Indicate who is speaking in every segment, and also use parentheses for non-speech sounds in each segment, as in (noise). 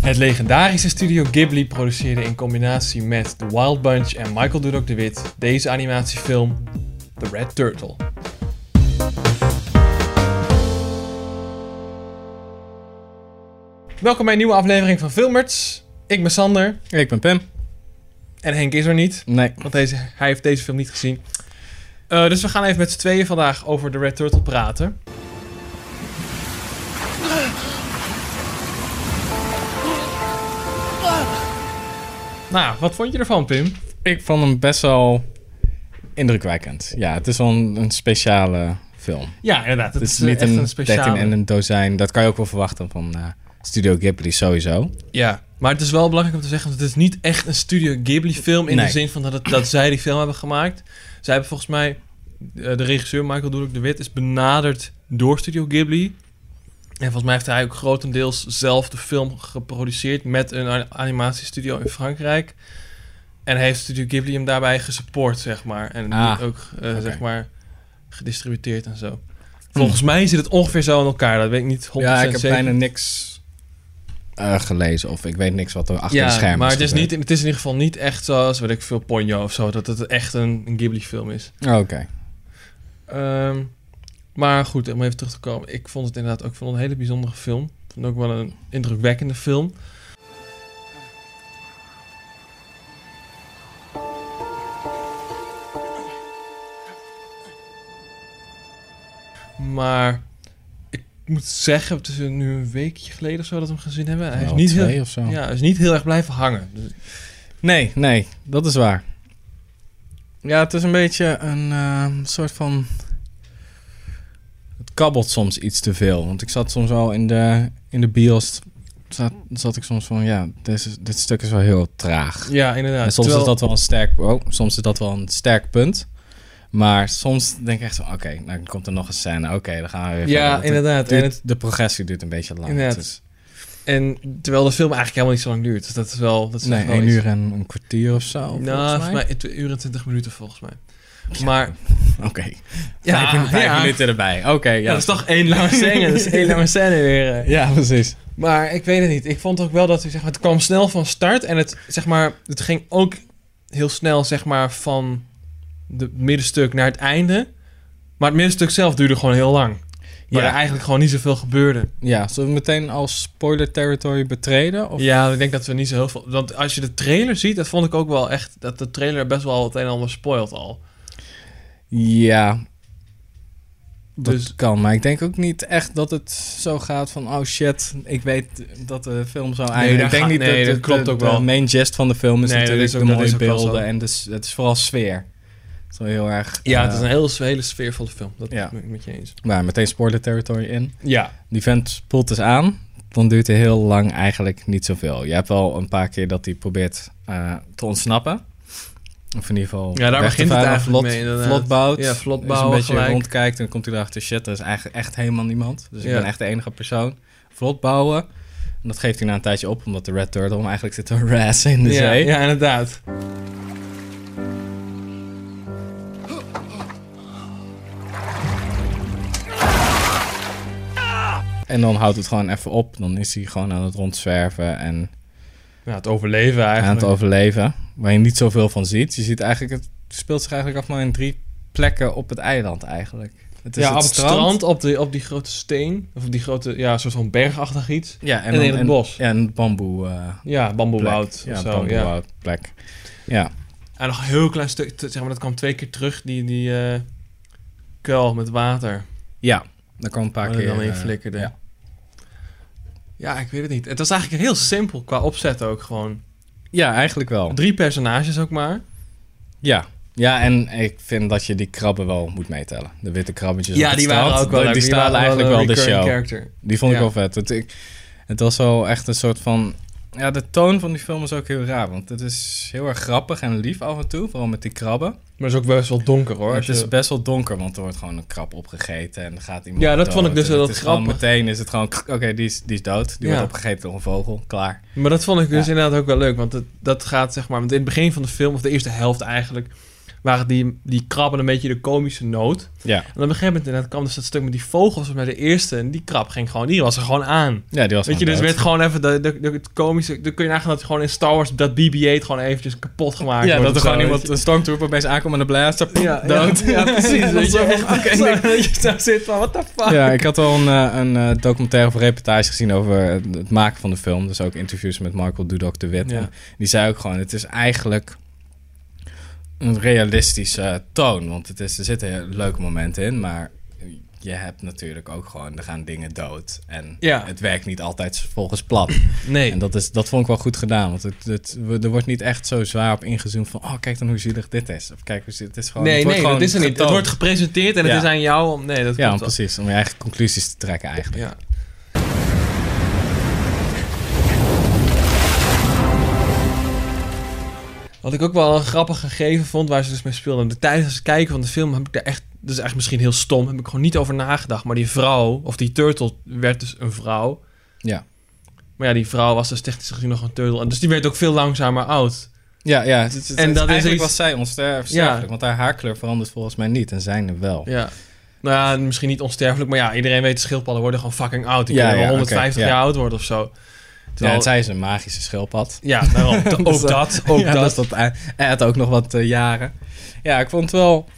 Speaker 1: Het legendarische studio Ghibli produceerde in combinatie met The Wild Bunch en Michael Dudok de Wit deze animatiefilm The Red Turtle. Welkom bij een nieuwe aflevering van Filmerts. Ik ben Sander
Speaker 2: Ik ben Pim.
Speaker 1: en Henk is er niet,
Speaker 2: Nee.
Speaker 1: want deze, hij heeft deze film niet gezien. Eh, dus we gaan even met z'n tweeën vandaag over The Red Turtle praten. Nou, wat vond je ervan, Pim?
Speaker 2: Ik vond hem best wel indrukwekkend. Ja, het is wel een, een speciale film.
Speaker 1: Ja, inderdaad. Het
Speaker 2: Het
Speaker 1: is eh,
Speaker 2: is niet
Speaker 1: echt
Speaker 2: een,
Speaker 1: een
Speaker 2: 13 en
Speaker 1: speciale.
Speaker 2: een dozijn. Dat kan je ook wel verwachten van eh, Studio Ghibli sowieso.
Speaker 1: Ja, maar het is wel belangrijk om te zeggen... dat het is niet echt een Studio Ghibli-film... in de
Speaker 2: Nee.
Speaker 1: zin van dat, het- dat zij die film hebben gemaakt. Zij hebben volgens mij... eh, de regisseur Michael Dudok de Wit is benaderd door Studio Ghibli. En volgens mij heeft hij ook grotendeels zelf de film geproduceerd... met een a- animatiestudio in Frankrijk. En heeft Studio Ghibli hem daarbij gesupport, zeg maar. En die
Speaker 2: Ah,
Speaker 1: ook, eh,
Speaker 2: oké. Hm.
Speaker 1: zeg maar, gedistributeerd en zo. Volgens mij zit het ongeveer zo aan elkaar. Dat weet ik niet 100%
Speaker 2: Ja, ik heb
Speaker 1: zeker.
Speaker 2: bijna niks eh, gelezen of ik weet niks wat er achter de schermen
Speaker 1: maar het is,
Speaker 2: gebeurd.
Speaker 1: niet, het is in ieder geval niet echt zoals, weet ik veel, Ponyo of zo. Dat het echt een, een Ghibli-film is.
Speaker 2: Oh, Oké.
Speaker 1: Ehm, maar goed, om even terug te komen. Ik vond het inderdaad ook van een hele bijzondere film. Ik vond het ook wel een indrukwekkende film. Maar ik moet zeggen, het is nu een weekje geleden of zo dat we hem gezien hebben. Hij is
Speaker 2: Wel
Speaker 1: niet heel,
Speaker 2: Nou, twee of zo.
Speaker 1: ja, hij is niet heel erg blijven hangen. Dus
Speaker 2: Nee, nee, dat is waar. Ja, het is een beetje een eh, soort van. Het kabbelt soms iets te veel. Want ik zat soms al in de, in de bios. Zat, zat ik soms van, ja, dit, is- dit stuk is wel heel traag.
Speaker 1: Ja, inderdaad.
Speaker 2: en soms
Speaker 1: Terwijl-
Speaker 2: is dat wel een sterk. Oh, soms is dat wel een sterk punt. Maar soms denk ik echt van, oké, nou dan komt er nog een scène. Oké, dan gaan we weer. verder.
Speaker 1: Ja,
Speaker 2: Het
Speaker 1: inderdaad.
Speaker 2: duurt-
Speaker 1: En, het,
Speaker 2: de progressie duurt een beetje lang.
Speaker 1: Inderdaad.
Speaker 2: Dus,
Speaker 1: en terwijl de film eigenlijk helemaal niet zo lang duurt. Dus dat is wel... Dat is
Speaker 2: nee,
Speaker 1: echt wel
Speaker 2: één
Speaker 1: iets.
Speaker 2: uur en een kwartier of zo. Oh, volgens
Speaker 1: Nou, volgens
Speaker 2: mij.
Speaker 1: mij twee uur en twintig minuten volgens mij.
Speaker 2: Ja.
Speaker 1: Maar...
Speaker 2: Oké.
Speaker 1: Ja,
Speaker 2: vijf, vijf
Speaker 1: ja.
Speaker 2: minuten erbij. Oké,
Speaker 1: Ja,
Speaker 2: ja.
Speaker 1: dat is toch één lange
Speaker 2: (laughs)
Speaker 1: scène. Dat is één lange scène weer. eh.
Speaker 2: Ja, precies.
Speaker 1: Maar ik weet het niet. Ik vond ook wel dat hij, zeg maar, het kwam snel van start. En het, zeg maar, het ging ook heel snel zeg maar, van het middenstuk naar het einde. Maar het middenstuk zelf duurde gewoon heel lang. Waar
Speaker 2: Ja.
Speaker 1: er eigenlijk gewoon niet zoveel gebeurde.
Speaker 2: Ja, zullen we meteen als spoiler territory betreden? Of?
Speaker 1: Ja, ik denk dat we niet zo heel veel. Want als je de trailer ziet, dat vond ik ook wel echt. Dat de trailer best wel het een en ander spoilt al.
Speaker 2: Ja. Dat
Speaker 1: Dus-
Speaker 2: kan, maar ik denk ook niet echt dat het zo gaat van... oh shit, ik weet dat de film zo eindigen.
Speaker 1: daar
Speaker 2: ik denk
Speaker 1: gaat-
Speaker 2: niet
Speaker 1: nee,
Speaker 2: dat,
Speaker 1: dat klopt
Speaker 2: de,
Speaker 1: ook wel.
Speaker 2: De main gist van de film
Speaker 1: Nee,
Speaker 2: is
Speaker 1: dat
Speaker 2: natuurlijk
Speaker 1: is ook-
Speaker 2: de
Speaker 1: dat
Speaker 2: mooie
Speaker 1: is ook wel
Speaker 2: beelden...
Speaker 1: zo.
Speaker 2: en dus, het is vooral sfeer. Het is wel heel erg...
Speaker 1: Ja,
Speaker 2: eh,
Speaker 1: het is een hele, hele sfeervolle film. Dat
Speaker 2: Ja.
Speaker 1: ben ik met je eens.
Speaker 2: Maar meteen spoiler territory in.
Speaker 1: Ja.
Speaker 2: Die vent spoelt dus aan. Dan duurt hij heel lang eigenlijk niet zoveel. Je hebt wel een paar keer dat hij probeert eh, te ontsnappen. Of in ieder geval.
Speaker 1: Ja, daar
Speaker 2: weg te
Speaker 1: begint het
Speaker 2: varen,
Speaker 1: eigenlijk
Speaker 2: vlot,
Speaker 1: mee, inderdaad.
Speaker 2: vlot bouwt.
Speaker 1: Ja, vlot
Speaker 2: Dus
Speaker 1: bouwen
Speaker 2: een beetje
Speaker 1: gelijk.
Speaker 2: rondkijkt en dan komt hij erachter: shit, er is eigenlijk echt helemaal niemand. Dus ik
Speaker 1: Ja.
Speaker 2: ben echt de enige persoon. Vlot bouwen. En dat geeft hij na een tijdje op, omdat de Red Turtle hem eigenlijk zit te (laughs) harassen in de
Speaker 1: ja,
Speaker 2: zee.
Speaker 1: ja, inderdaad.
Speaker 2: En dan houdt het gewoon even op. Dan is hij gewoon aan het rondzwerven en
Speaker 1: Ja, het overleven eigenlijk.
Speaker 2: aan het overleven. Waar je niet zoveel van ziet. Je ziet eigenlijk, het speelt zich eigenlijk af maar in drie plekken op het eiland eigenlijk. Het is
Speaker 1: ja,
Speaker 2: het
Speaker 1: op het strand, op, de, op die grote steen. Of op die grote, ja, soort van bergachtig iets.
Speaker 2: Ja, en,
Speaker 1: en in
Speaker 2: dan-
Speaker 1: het bos.
Speaker 2: Ja, en het bamboe. eh
Speaker 1: Ja, bamboewoud.
Speaker 2: plek.
Speaker 1: of zo,
Speaker 2: Ja,
Speaker 1: ja.
Speaker 2: bamboewoud plek. Ja.
Speaker 1: En nog een heel klein stuk, te- zeg maar, dat kwam twee keer terug, die, die eh, kuil met water.
Speaker 2: ja, daar kwam een paar
Speaker 1: Waar
Speaker 2: keer.
Speaker 1: je dan in
Speaker 2: eh,
Speaker 1: flikkerde.
Speaker 2: ja.
Speaker 1: Ja, ik weet het niet. Het was eigenlijk heel simpel qua opzet ook gewoon.
Speaker 2: ja, eigenlijk wel.
Speaker 1: Drie personages ook maar.
Speaker 2: Ja. Ja, en ik vind dat je die krabben wel moet meetellen. De witte krabbetjes op het strand,
Speaker 1: leuk.
Speaker 2: Die, die staan
Speaker 1: waren
Speaker 2: eigenlijk wel
Speaker 1: een
Speaker 2: de
Speaker 1: recurring
Speaker 2: show.
Speaker 1: character.
Speaker 2: Die vond ik
Speaker 1: Ja.
Speaker 2: wel vet. Het, ik, het was wel echt een soort van... Ja, de toon van die film is ook heel raar. Want het is heel erg grappig en lief af en toe. Vooral met die krabben.
Speaker 1: Maar het is ook best wel donker hoor.
Speaker 2: het
Speaker 1: als je-
Speaker 2: is best wel donker, want er wordt gewoon een krab opgegeten. En er gaat iemand
Speaker 1: Ja, dat
Speaker 2: dood.
Speaker 1: vond ik dus
Speaker 2: En
Speaker 1: wel
Speaker 2: het
Speaker 1: dat
Speaker 2: is gewoon
Speaker 1: grappig.
Speaker 2: Meteen is het gewoon... krk, Oké, die, is, die is dood. Die
Speaker 1: Ja.
Speaker 2: wordt opgegeten door een vogel. Klaar.
Speaker 1: Maar dat vond ik dus
Speaker 2: Ja.
Speaker 1: inderdaad ook wel leuk. Want het, dat gaat, zeg maar, want in het begin van de film, of de eerste helft eigenlijk, waren die, die krabben een beetje de komische noot.
Speaker 2: Ja.
Speaker 1: En op een gegeven moment inderdaad kwam dus dat stuk met die vogels met de eerste. En die krab ging gewoon, die was er gewoon aan.
Speaker 2: Ja, die was
Speaker 1: Weet je, dus
Speaker 2: gewoon
Speaker 1: werd gewoon even de, de, de- het komische... Dan kun je nagaan dat gewoon in Star Wars dat BB-8 gewoon eventjes kapot gemaakt
Speaker 2: dood. Ja,
Speaker 1: wordt.
Speaker 2: dat er
Speaker 1: of
Speaker 2: gewoon
Speaker 1: zo,
Speaker 2: iemand,
Speaker 1: weet
Speaker 2: een stormtrooper opeens aankomt met een blaster.
Speaker 1: je. (laughs) Ja,
Speaker 2: dood.
Speaker 1: Ja, ja, (laughs) precies.
Speaker 2: (laughs) Dat
Speaker 1: weet
Speaker 2: is
Speaker 1: je,
Speaker 2: wel
Speaker 1: echt
Speaker 2: oké.
Speaker 1: zo, dat je daar zit van, what the fuck?
Speaker 2: Ja, ik had al een, eh, een eh, documentaire of reportage gezien over het maken van de film. Dus ook interviews met Michael Dudok de Wit.
Speaker 1: Ja.
Speaker 2: En Die zei ook gewoon, het is eigenlijk een realistische eh, toon. Want het is, er zitten leuke momenten in, maar je hebt natuurlijk ook gewoon, er gaan dingen dood. En
Speaker 1: Ja.
Speaker 2: het werkt niet altijd volgens plan.
Speaker 1: Nee.
Speaker 2: En dat, is, dat vond ik wel goed gedaan. Want het, het, we- er wordt niet echt zo zwaar op ingezoomd van... oh, kijk dan hoe zielig dit is. Of kijk, hoe zie- het is gewoon...
Speaker 1: nee,
Speaker 2: het wordt
Speaker 1: nee,
Speaker 2: gewoon
Speaker 1: dat is er niet. Het
Speaker 2: getoond.
Speaker 1: wordt gepresenteerd en het
Speaker 2: Ja.
Speaker 1: is aan jou om... Nee, dat
Speaker 2: Ja,
Speaker 1: klopt wel.
Speaker 2: precies. Om je eigen conclusies te trekken eigenlijk.
Speaker 1: Ja. Wat ik ook wel een grappig gegeven vond, waar ze dus mee speelden. De- Tijdens het kijken van de film heb ik daar echt, dat is echt misschien heel stom, heb ik gewoon niet over nagedacht. Maar die vrouw, of die turtle, werd dus een vrouw.
Speaker 2: Ja.
Speaker 1: Maar ja, die vrouw was dus technisch gezien nog een turtle. En dus die werd ook veel langzamer oud.
Speaker 2: Ja, ja. Het, het- het-
Speaker 1: En dat is
Speaker 2: eigenlijk
Speaker 1: iets-
Speaker 2: was zij onsterfelijk. Want haar haarkleur verandert volgens mij niet. En zijne wel.
Speaker 1: Ja. Nou ja, misschien niet onsterfelijk, maar ja, iedereen weet, schildpadden worden gewoon fucking oud. Die
Speaker 2: Ja,
Speaker 1: kunnen wel
Speaker 2: ja,
Speaker 1: 150
Speaker 2: oké, ja.
Speaker 1: jaar oud worden of zo.
Speaker 2: Ja,
Speaker 1: Terwijl,
Speaker 2: en zij is een magische schildpad.
Speaker 1: ja
Speaker 2: (laughs)
Speaker 1: daarom.
Speaker 2: Dus,
Speaker 1: ook
Speaker 2: eh,
Speaker 1: dat, Nou- (laughs) ook
Speaker 2: ja,
Speaker 1: dat.
Speaker 2: is dat. Hij hij had ook nog wat eh, jaren. Ja, ik vond het wel...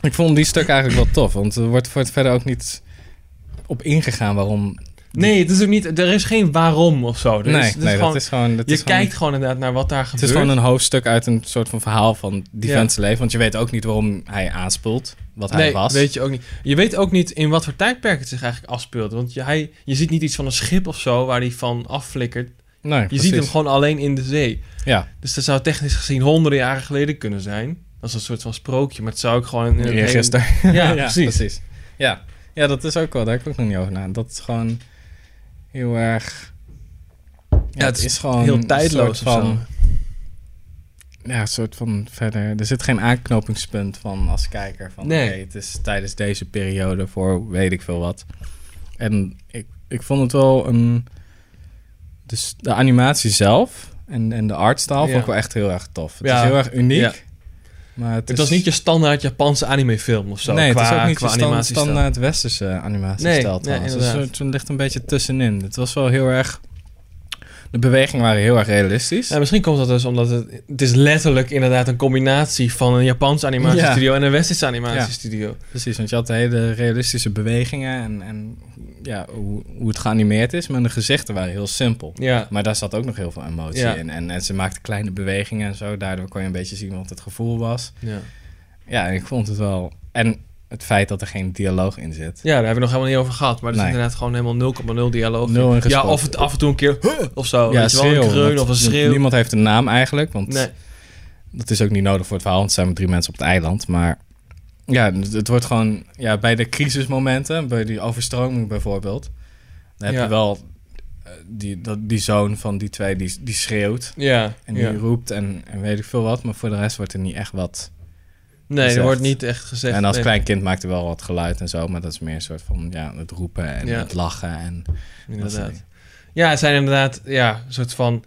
Speaker 2: Ik vond die stuk eigenlijk wel tof. Want er wordt, wordt verder ook niet op ingegaan waarom...
Speaker 1: Nee, het is ook niet. Er is geen waarom of zo. Er
Speaker 2: Nee,
Speaker 1: is, het is
Speaker 2: nee
Speaker 1: gewoon,
Speaker 2: dat is gewoon... Dat
Speaker 1: je
Speaker 2: is gewoon-
Speaker 1: kijkt gewoon inderdaad naar wat daar
Speaker 2: Het
Speaker 1: gebeurt.
Speaker 2: is gewoon een hoofdstuk uit een soort van verhaal van die
Speaker 1: Ja.
Speaker 2: vent's leven. Want je weet ook niet waarom hij aanspoelt, wat hij
Speaker 1: nee,
Speaker 2: was.
Speaker 1: weet je ook niet. Je weet ook niet in wat voor tijdperk het zich eigenlijk afspeelt. Want je, hij, je ziet niet iets van een schip of zo waar hij van afflikkert. Je
Speaker 2: nee, precies.
Speaker 1: ziet hem gewoon alleen in de zee.
Speaker 2: Ja,
Speaker 1: Dus dat zou technisch gezien honderden jaren geleden kunnen zijn. Dat is een soort van sprookje, maar het zou ook gewoon... in het hele-
Speaker 2: eergisteren. (laughs)
Speaker 1: (laughs) Ja, precies.
Speaker 2: Ja. ja, dat is ook wel, daar heb ik ook nog niet over na. Dat is gewoon heel erg... Ja,
Speaker 1: het is Heel tijdloos
Speaker 2: een soort van...
Speaker 1: of zo.
Speaker 2: Ja, een soort van verder... Er zit geen aanknopingspunt van als kijker. Van,
Speaker 1: Nee.
Speaker 2: nee. het is tijdens deze periode voor weet ik veel wat. En ik, ik vond het wel een... Dus de animatie zelf en, en de artstyle
Speaker 1: Ja.
Speaker 2: vond ik wel echt heel erg tof. Het
Speaker 1: Ja.
Speaker 2: is heel erg uniek.
Speaker 1: Ja.
Speaker 2: Maar het,
Speaker 1: Het
Speaker 2: is
Speaker 1: was niet je standaard Japanse animefilm of zo.
Speaker 2: nee,
Speaker 1: qua,
Speaker 2: het is ook niet
Speaker 1: qua
Speaker 2: je stand,
Speaker 1: animatiestijl.
Speaker 2: standaard westerse
Speaker 1: Nee,
Speaker 2: animatiestijl
Speaker 1: nee,
Speaker 2: trouwens. Dus het, is een
Speaker 1: inderdaad.
Speaker 2: soort- het ligt een beetje tussenin. Het was wel heel erg... De bewegingen waren heel erg realistisch.
Speaker 1: Ja, misschien komt dat dus omdat het, het is letterlijk inderdaad een combinatie van een Japanse animatiestudio en een Westerse animatiestudio.
Speaker 2: Precies, want je had hele realistische bewegingen en, en ja, hoe, hoe het geanimeerd is. Maar de gezichten waren heel simpel.
Speaker 1: Ja.
Speaker 2: Maar daar zat ook nog heel veel emotie
Speaker 1: Ja.
Speaker 2: in. En, en ze maakten kleine bewegingen en zo. Daardoor kon je een beetje zien wat het gevoel was.
Speaker 1: Ja.
Speaker 2: Ja, en ik vond het wel... En het feit dat er geen dialoog in zit.
Speaker 1: ja, daar hebben we nog helemaal niet over gehad. Maar er
Speaker 2: Nee.
Speaker 1: zit inderdaad gewoon helemaal 0,0 dialoog. in.
Speaker 2: Nul in
Speaker 1: ja,
Speaker 2: gesproken.
Speaker 1: of het af en toe een keer "Huh!" of zo. Oh, weet je wel,
Speaker 2: schreeuw,
Speaker 1: een kreun
Speaker 2: want
Speaker 1: of een schreeuw.
Speaker 2: Niemand heeft een naam eigenlijk, want
Speaker 1: Nee.
Speaker 2: dat is ook niet nodig voor het verhaal, want er zijn maar drie mensen op het eiland. Maar ja, het, het wordt gewoon ja, bij de crisismomenten, bij die overstroming bijvoorbeeld, dan heb
Speaker 1: Ja.
Speaker 2: je wel eh, die, dat, die zoon van die twee die, die schreeuwt
Speaker 1: Ja,
Speaker 2: en
Speaker 1: ja.
Speaker 2: die roept en, en weet ik veel wat, maar voor de rest wordt er niet echt wat.
Speaker 1: nee, er
Speaker 2: gezegd.
Speaker 1: wordt niet echt gezegd.
Speaker 2: en als
Speaker 1: nee.
Speaker 2: klein kind maakt er wel wat geluid en zo, maar dat is meer een soort van ja, het roepen en
Speaker 1: Ja.
Speaker 2: het lachen en
Speaker 1: Inderdaad.
Speaker 2: dat soort
Speaker 1: Ja, het zijn inderdaad ja, een soort van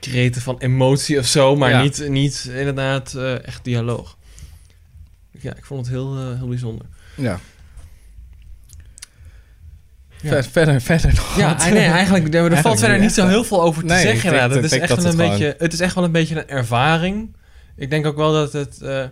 Speaker 1: kreten van emotie of zo, maar
Speaker 2: Ja.
Speaker 1: niet, niet inderdaad eh, echt dialoog. Ja, ik vond het heel, eh, heel bijzonder.
Speaker 2: Ja.
Speaker 1: Ja.
Speaker 2: Ver- verder, verder nog.
Speaker 1: Ja, nee,
Speaker 2: wat. (laughs)
Speaker 1: eigenlijk, er
Speaker 2: Eigenlijk
Speaker 1: valt verder
Speaker 2: niet
Speaker 1: niet zo
Speaker 2: echt.
Speaker 1: heel veel over te
Speaker 2: Nee, ik
Speaker 1: zeggen.
Speaker 2: denk-
Speaker 1: inderdaad.
Speaker 2: ik
Speaker 1: het, is
Speaker 2: denk
Speaker 1: echt
Speaker 2: dat
Speaker 1: wel een
Speaker 2: het gewoon-
Speaker 1: beetje, het is echt wel een beetje een ervaring. Ik denk ook wel dat het eh,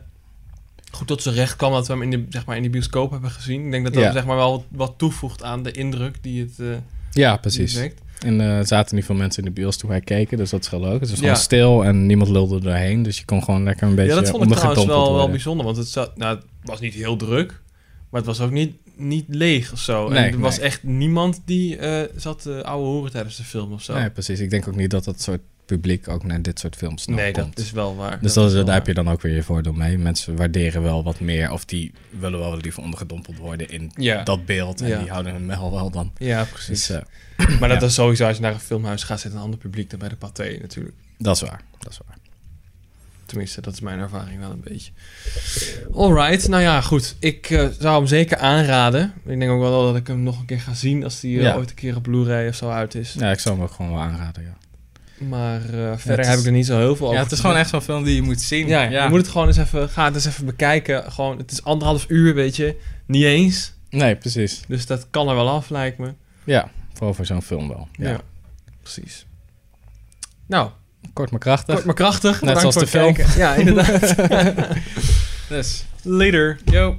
Speaker 1: goed tot zijn recht kwam dat we hem in de, zeg maar, in de bioscoop hebben gezien. Ik denk dat dat
Speaker 2: Ja.
Speaker 1: zeg maar, wel wat, wat toevoegt aan de indruk die het, eh, die
Speaker 2: Ja,
Speaker 1: het
Speaker 2: precies.
Speaker 1: wekt.
Speaker 2: En eh, er zaten niet veel mensen in de bios toen wij keken, dus dat is wel leuk. Het was gewoon
Speaker 1: Ja.
Speaker 2: stil en niemand lulde er doorheen, dus je kon gewoon lekker een beetje
Speaker 1: Ja, dat vond ik trouwens
Speaker 2: ondergedompeld
Speaker 1: wel, wel
Speaker 2: worden.
Speaker 1: bijzonder. Want het, zat, nou, het was niet heel druk, maar het was ook niet, niet leeg of zo.
Speaker 2: Nee,
Speaker 1: en er was
Speaker 2: nee.
Speaker 1: echt niemand die eh, zat te ouwe horen tijdens de film of zo.
Speaker 2: Nee, precies. Ik denk ook niet dat dat soort publiek ook naar dit soort films nog
Speaker 1: Nee, dat
Speaker 2: komt.
Speaker 1: is wel waar.
Speaker 2: dus dat is,
Speaker 1: wel
Speaker 2: daar heb
Speaker 1: waar.
Speaker 2: je dan ook weer je voordeel mee. Mensen waarderen wel wat meer of die willen wel liever ondergedompeld worden in
Speaker 1: Ja.
Speaker 2: dat beeld. En
Speaker 1: Ja.
Speaker 2: die houden hun wel wel dan.
Speaker 1: Ja, precies.
Speaker 2: Dus eh,
Speaker 1: Maar dat
Speaker 2: Ja.
Speaker 1: is sowieso als je naar een filmhuis gaat, zit een ander publiek dan bij de paté natuurlijk.
Speaker 2: dat is waar. Dat is waar.
Speaker 1: Tenminste, dat is mijn ervaring wel een beetje. Alright, nou ja, goed. Ik eh, zou hem zeker aanraden. Ik denk ook wel dat ik hem nog een keer ga zien als die eh,
Speaker 2: Ja.
Speaker 1: ooit een keer op Blu-ray of zo uit is.
Speaker 2: Ja, ik zou hem ook gewoon wel aanraden, ja.
Speaker 1: Maar eh, verder
Speaker 2: het is-
Speaker 1: heb ik er niet zo heel veel over.
Speaker 2: Ja, het is gewoon echt zo'n film die je moet zien.
Speaker 1: Ja, je moet het gewoon eens even, ga het eens even bekijken. Gewoon, het is anderhalf uur, weet je. Niet eens.
Speaker 2: Nee, precies.
Speaker 1: Dus dat kan er wel af, lijkt me.
Speaker 2: Ja, vooral voor zo'n film wel. Ja.
Speaker 1: Ja, precies. Nou,
Speaker 2: Kort maar krachtig.
Speaker 1: kort maar krachtig.
Speaker 2: Net
Speaker 1: Bedankt
Speaker 2: zoals
Speaker 1: voor het (laughs)
Speaker 2: de (laughs) film.
Speaker 1: kijken. Ja, inderdaad.
Speaker 2: Dus,
Speaker 1: Later.
Speaker 2: yo.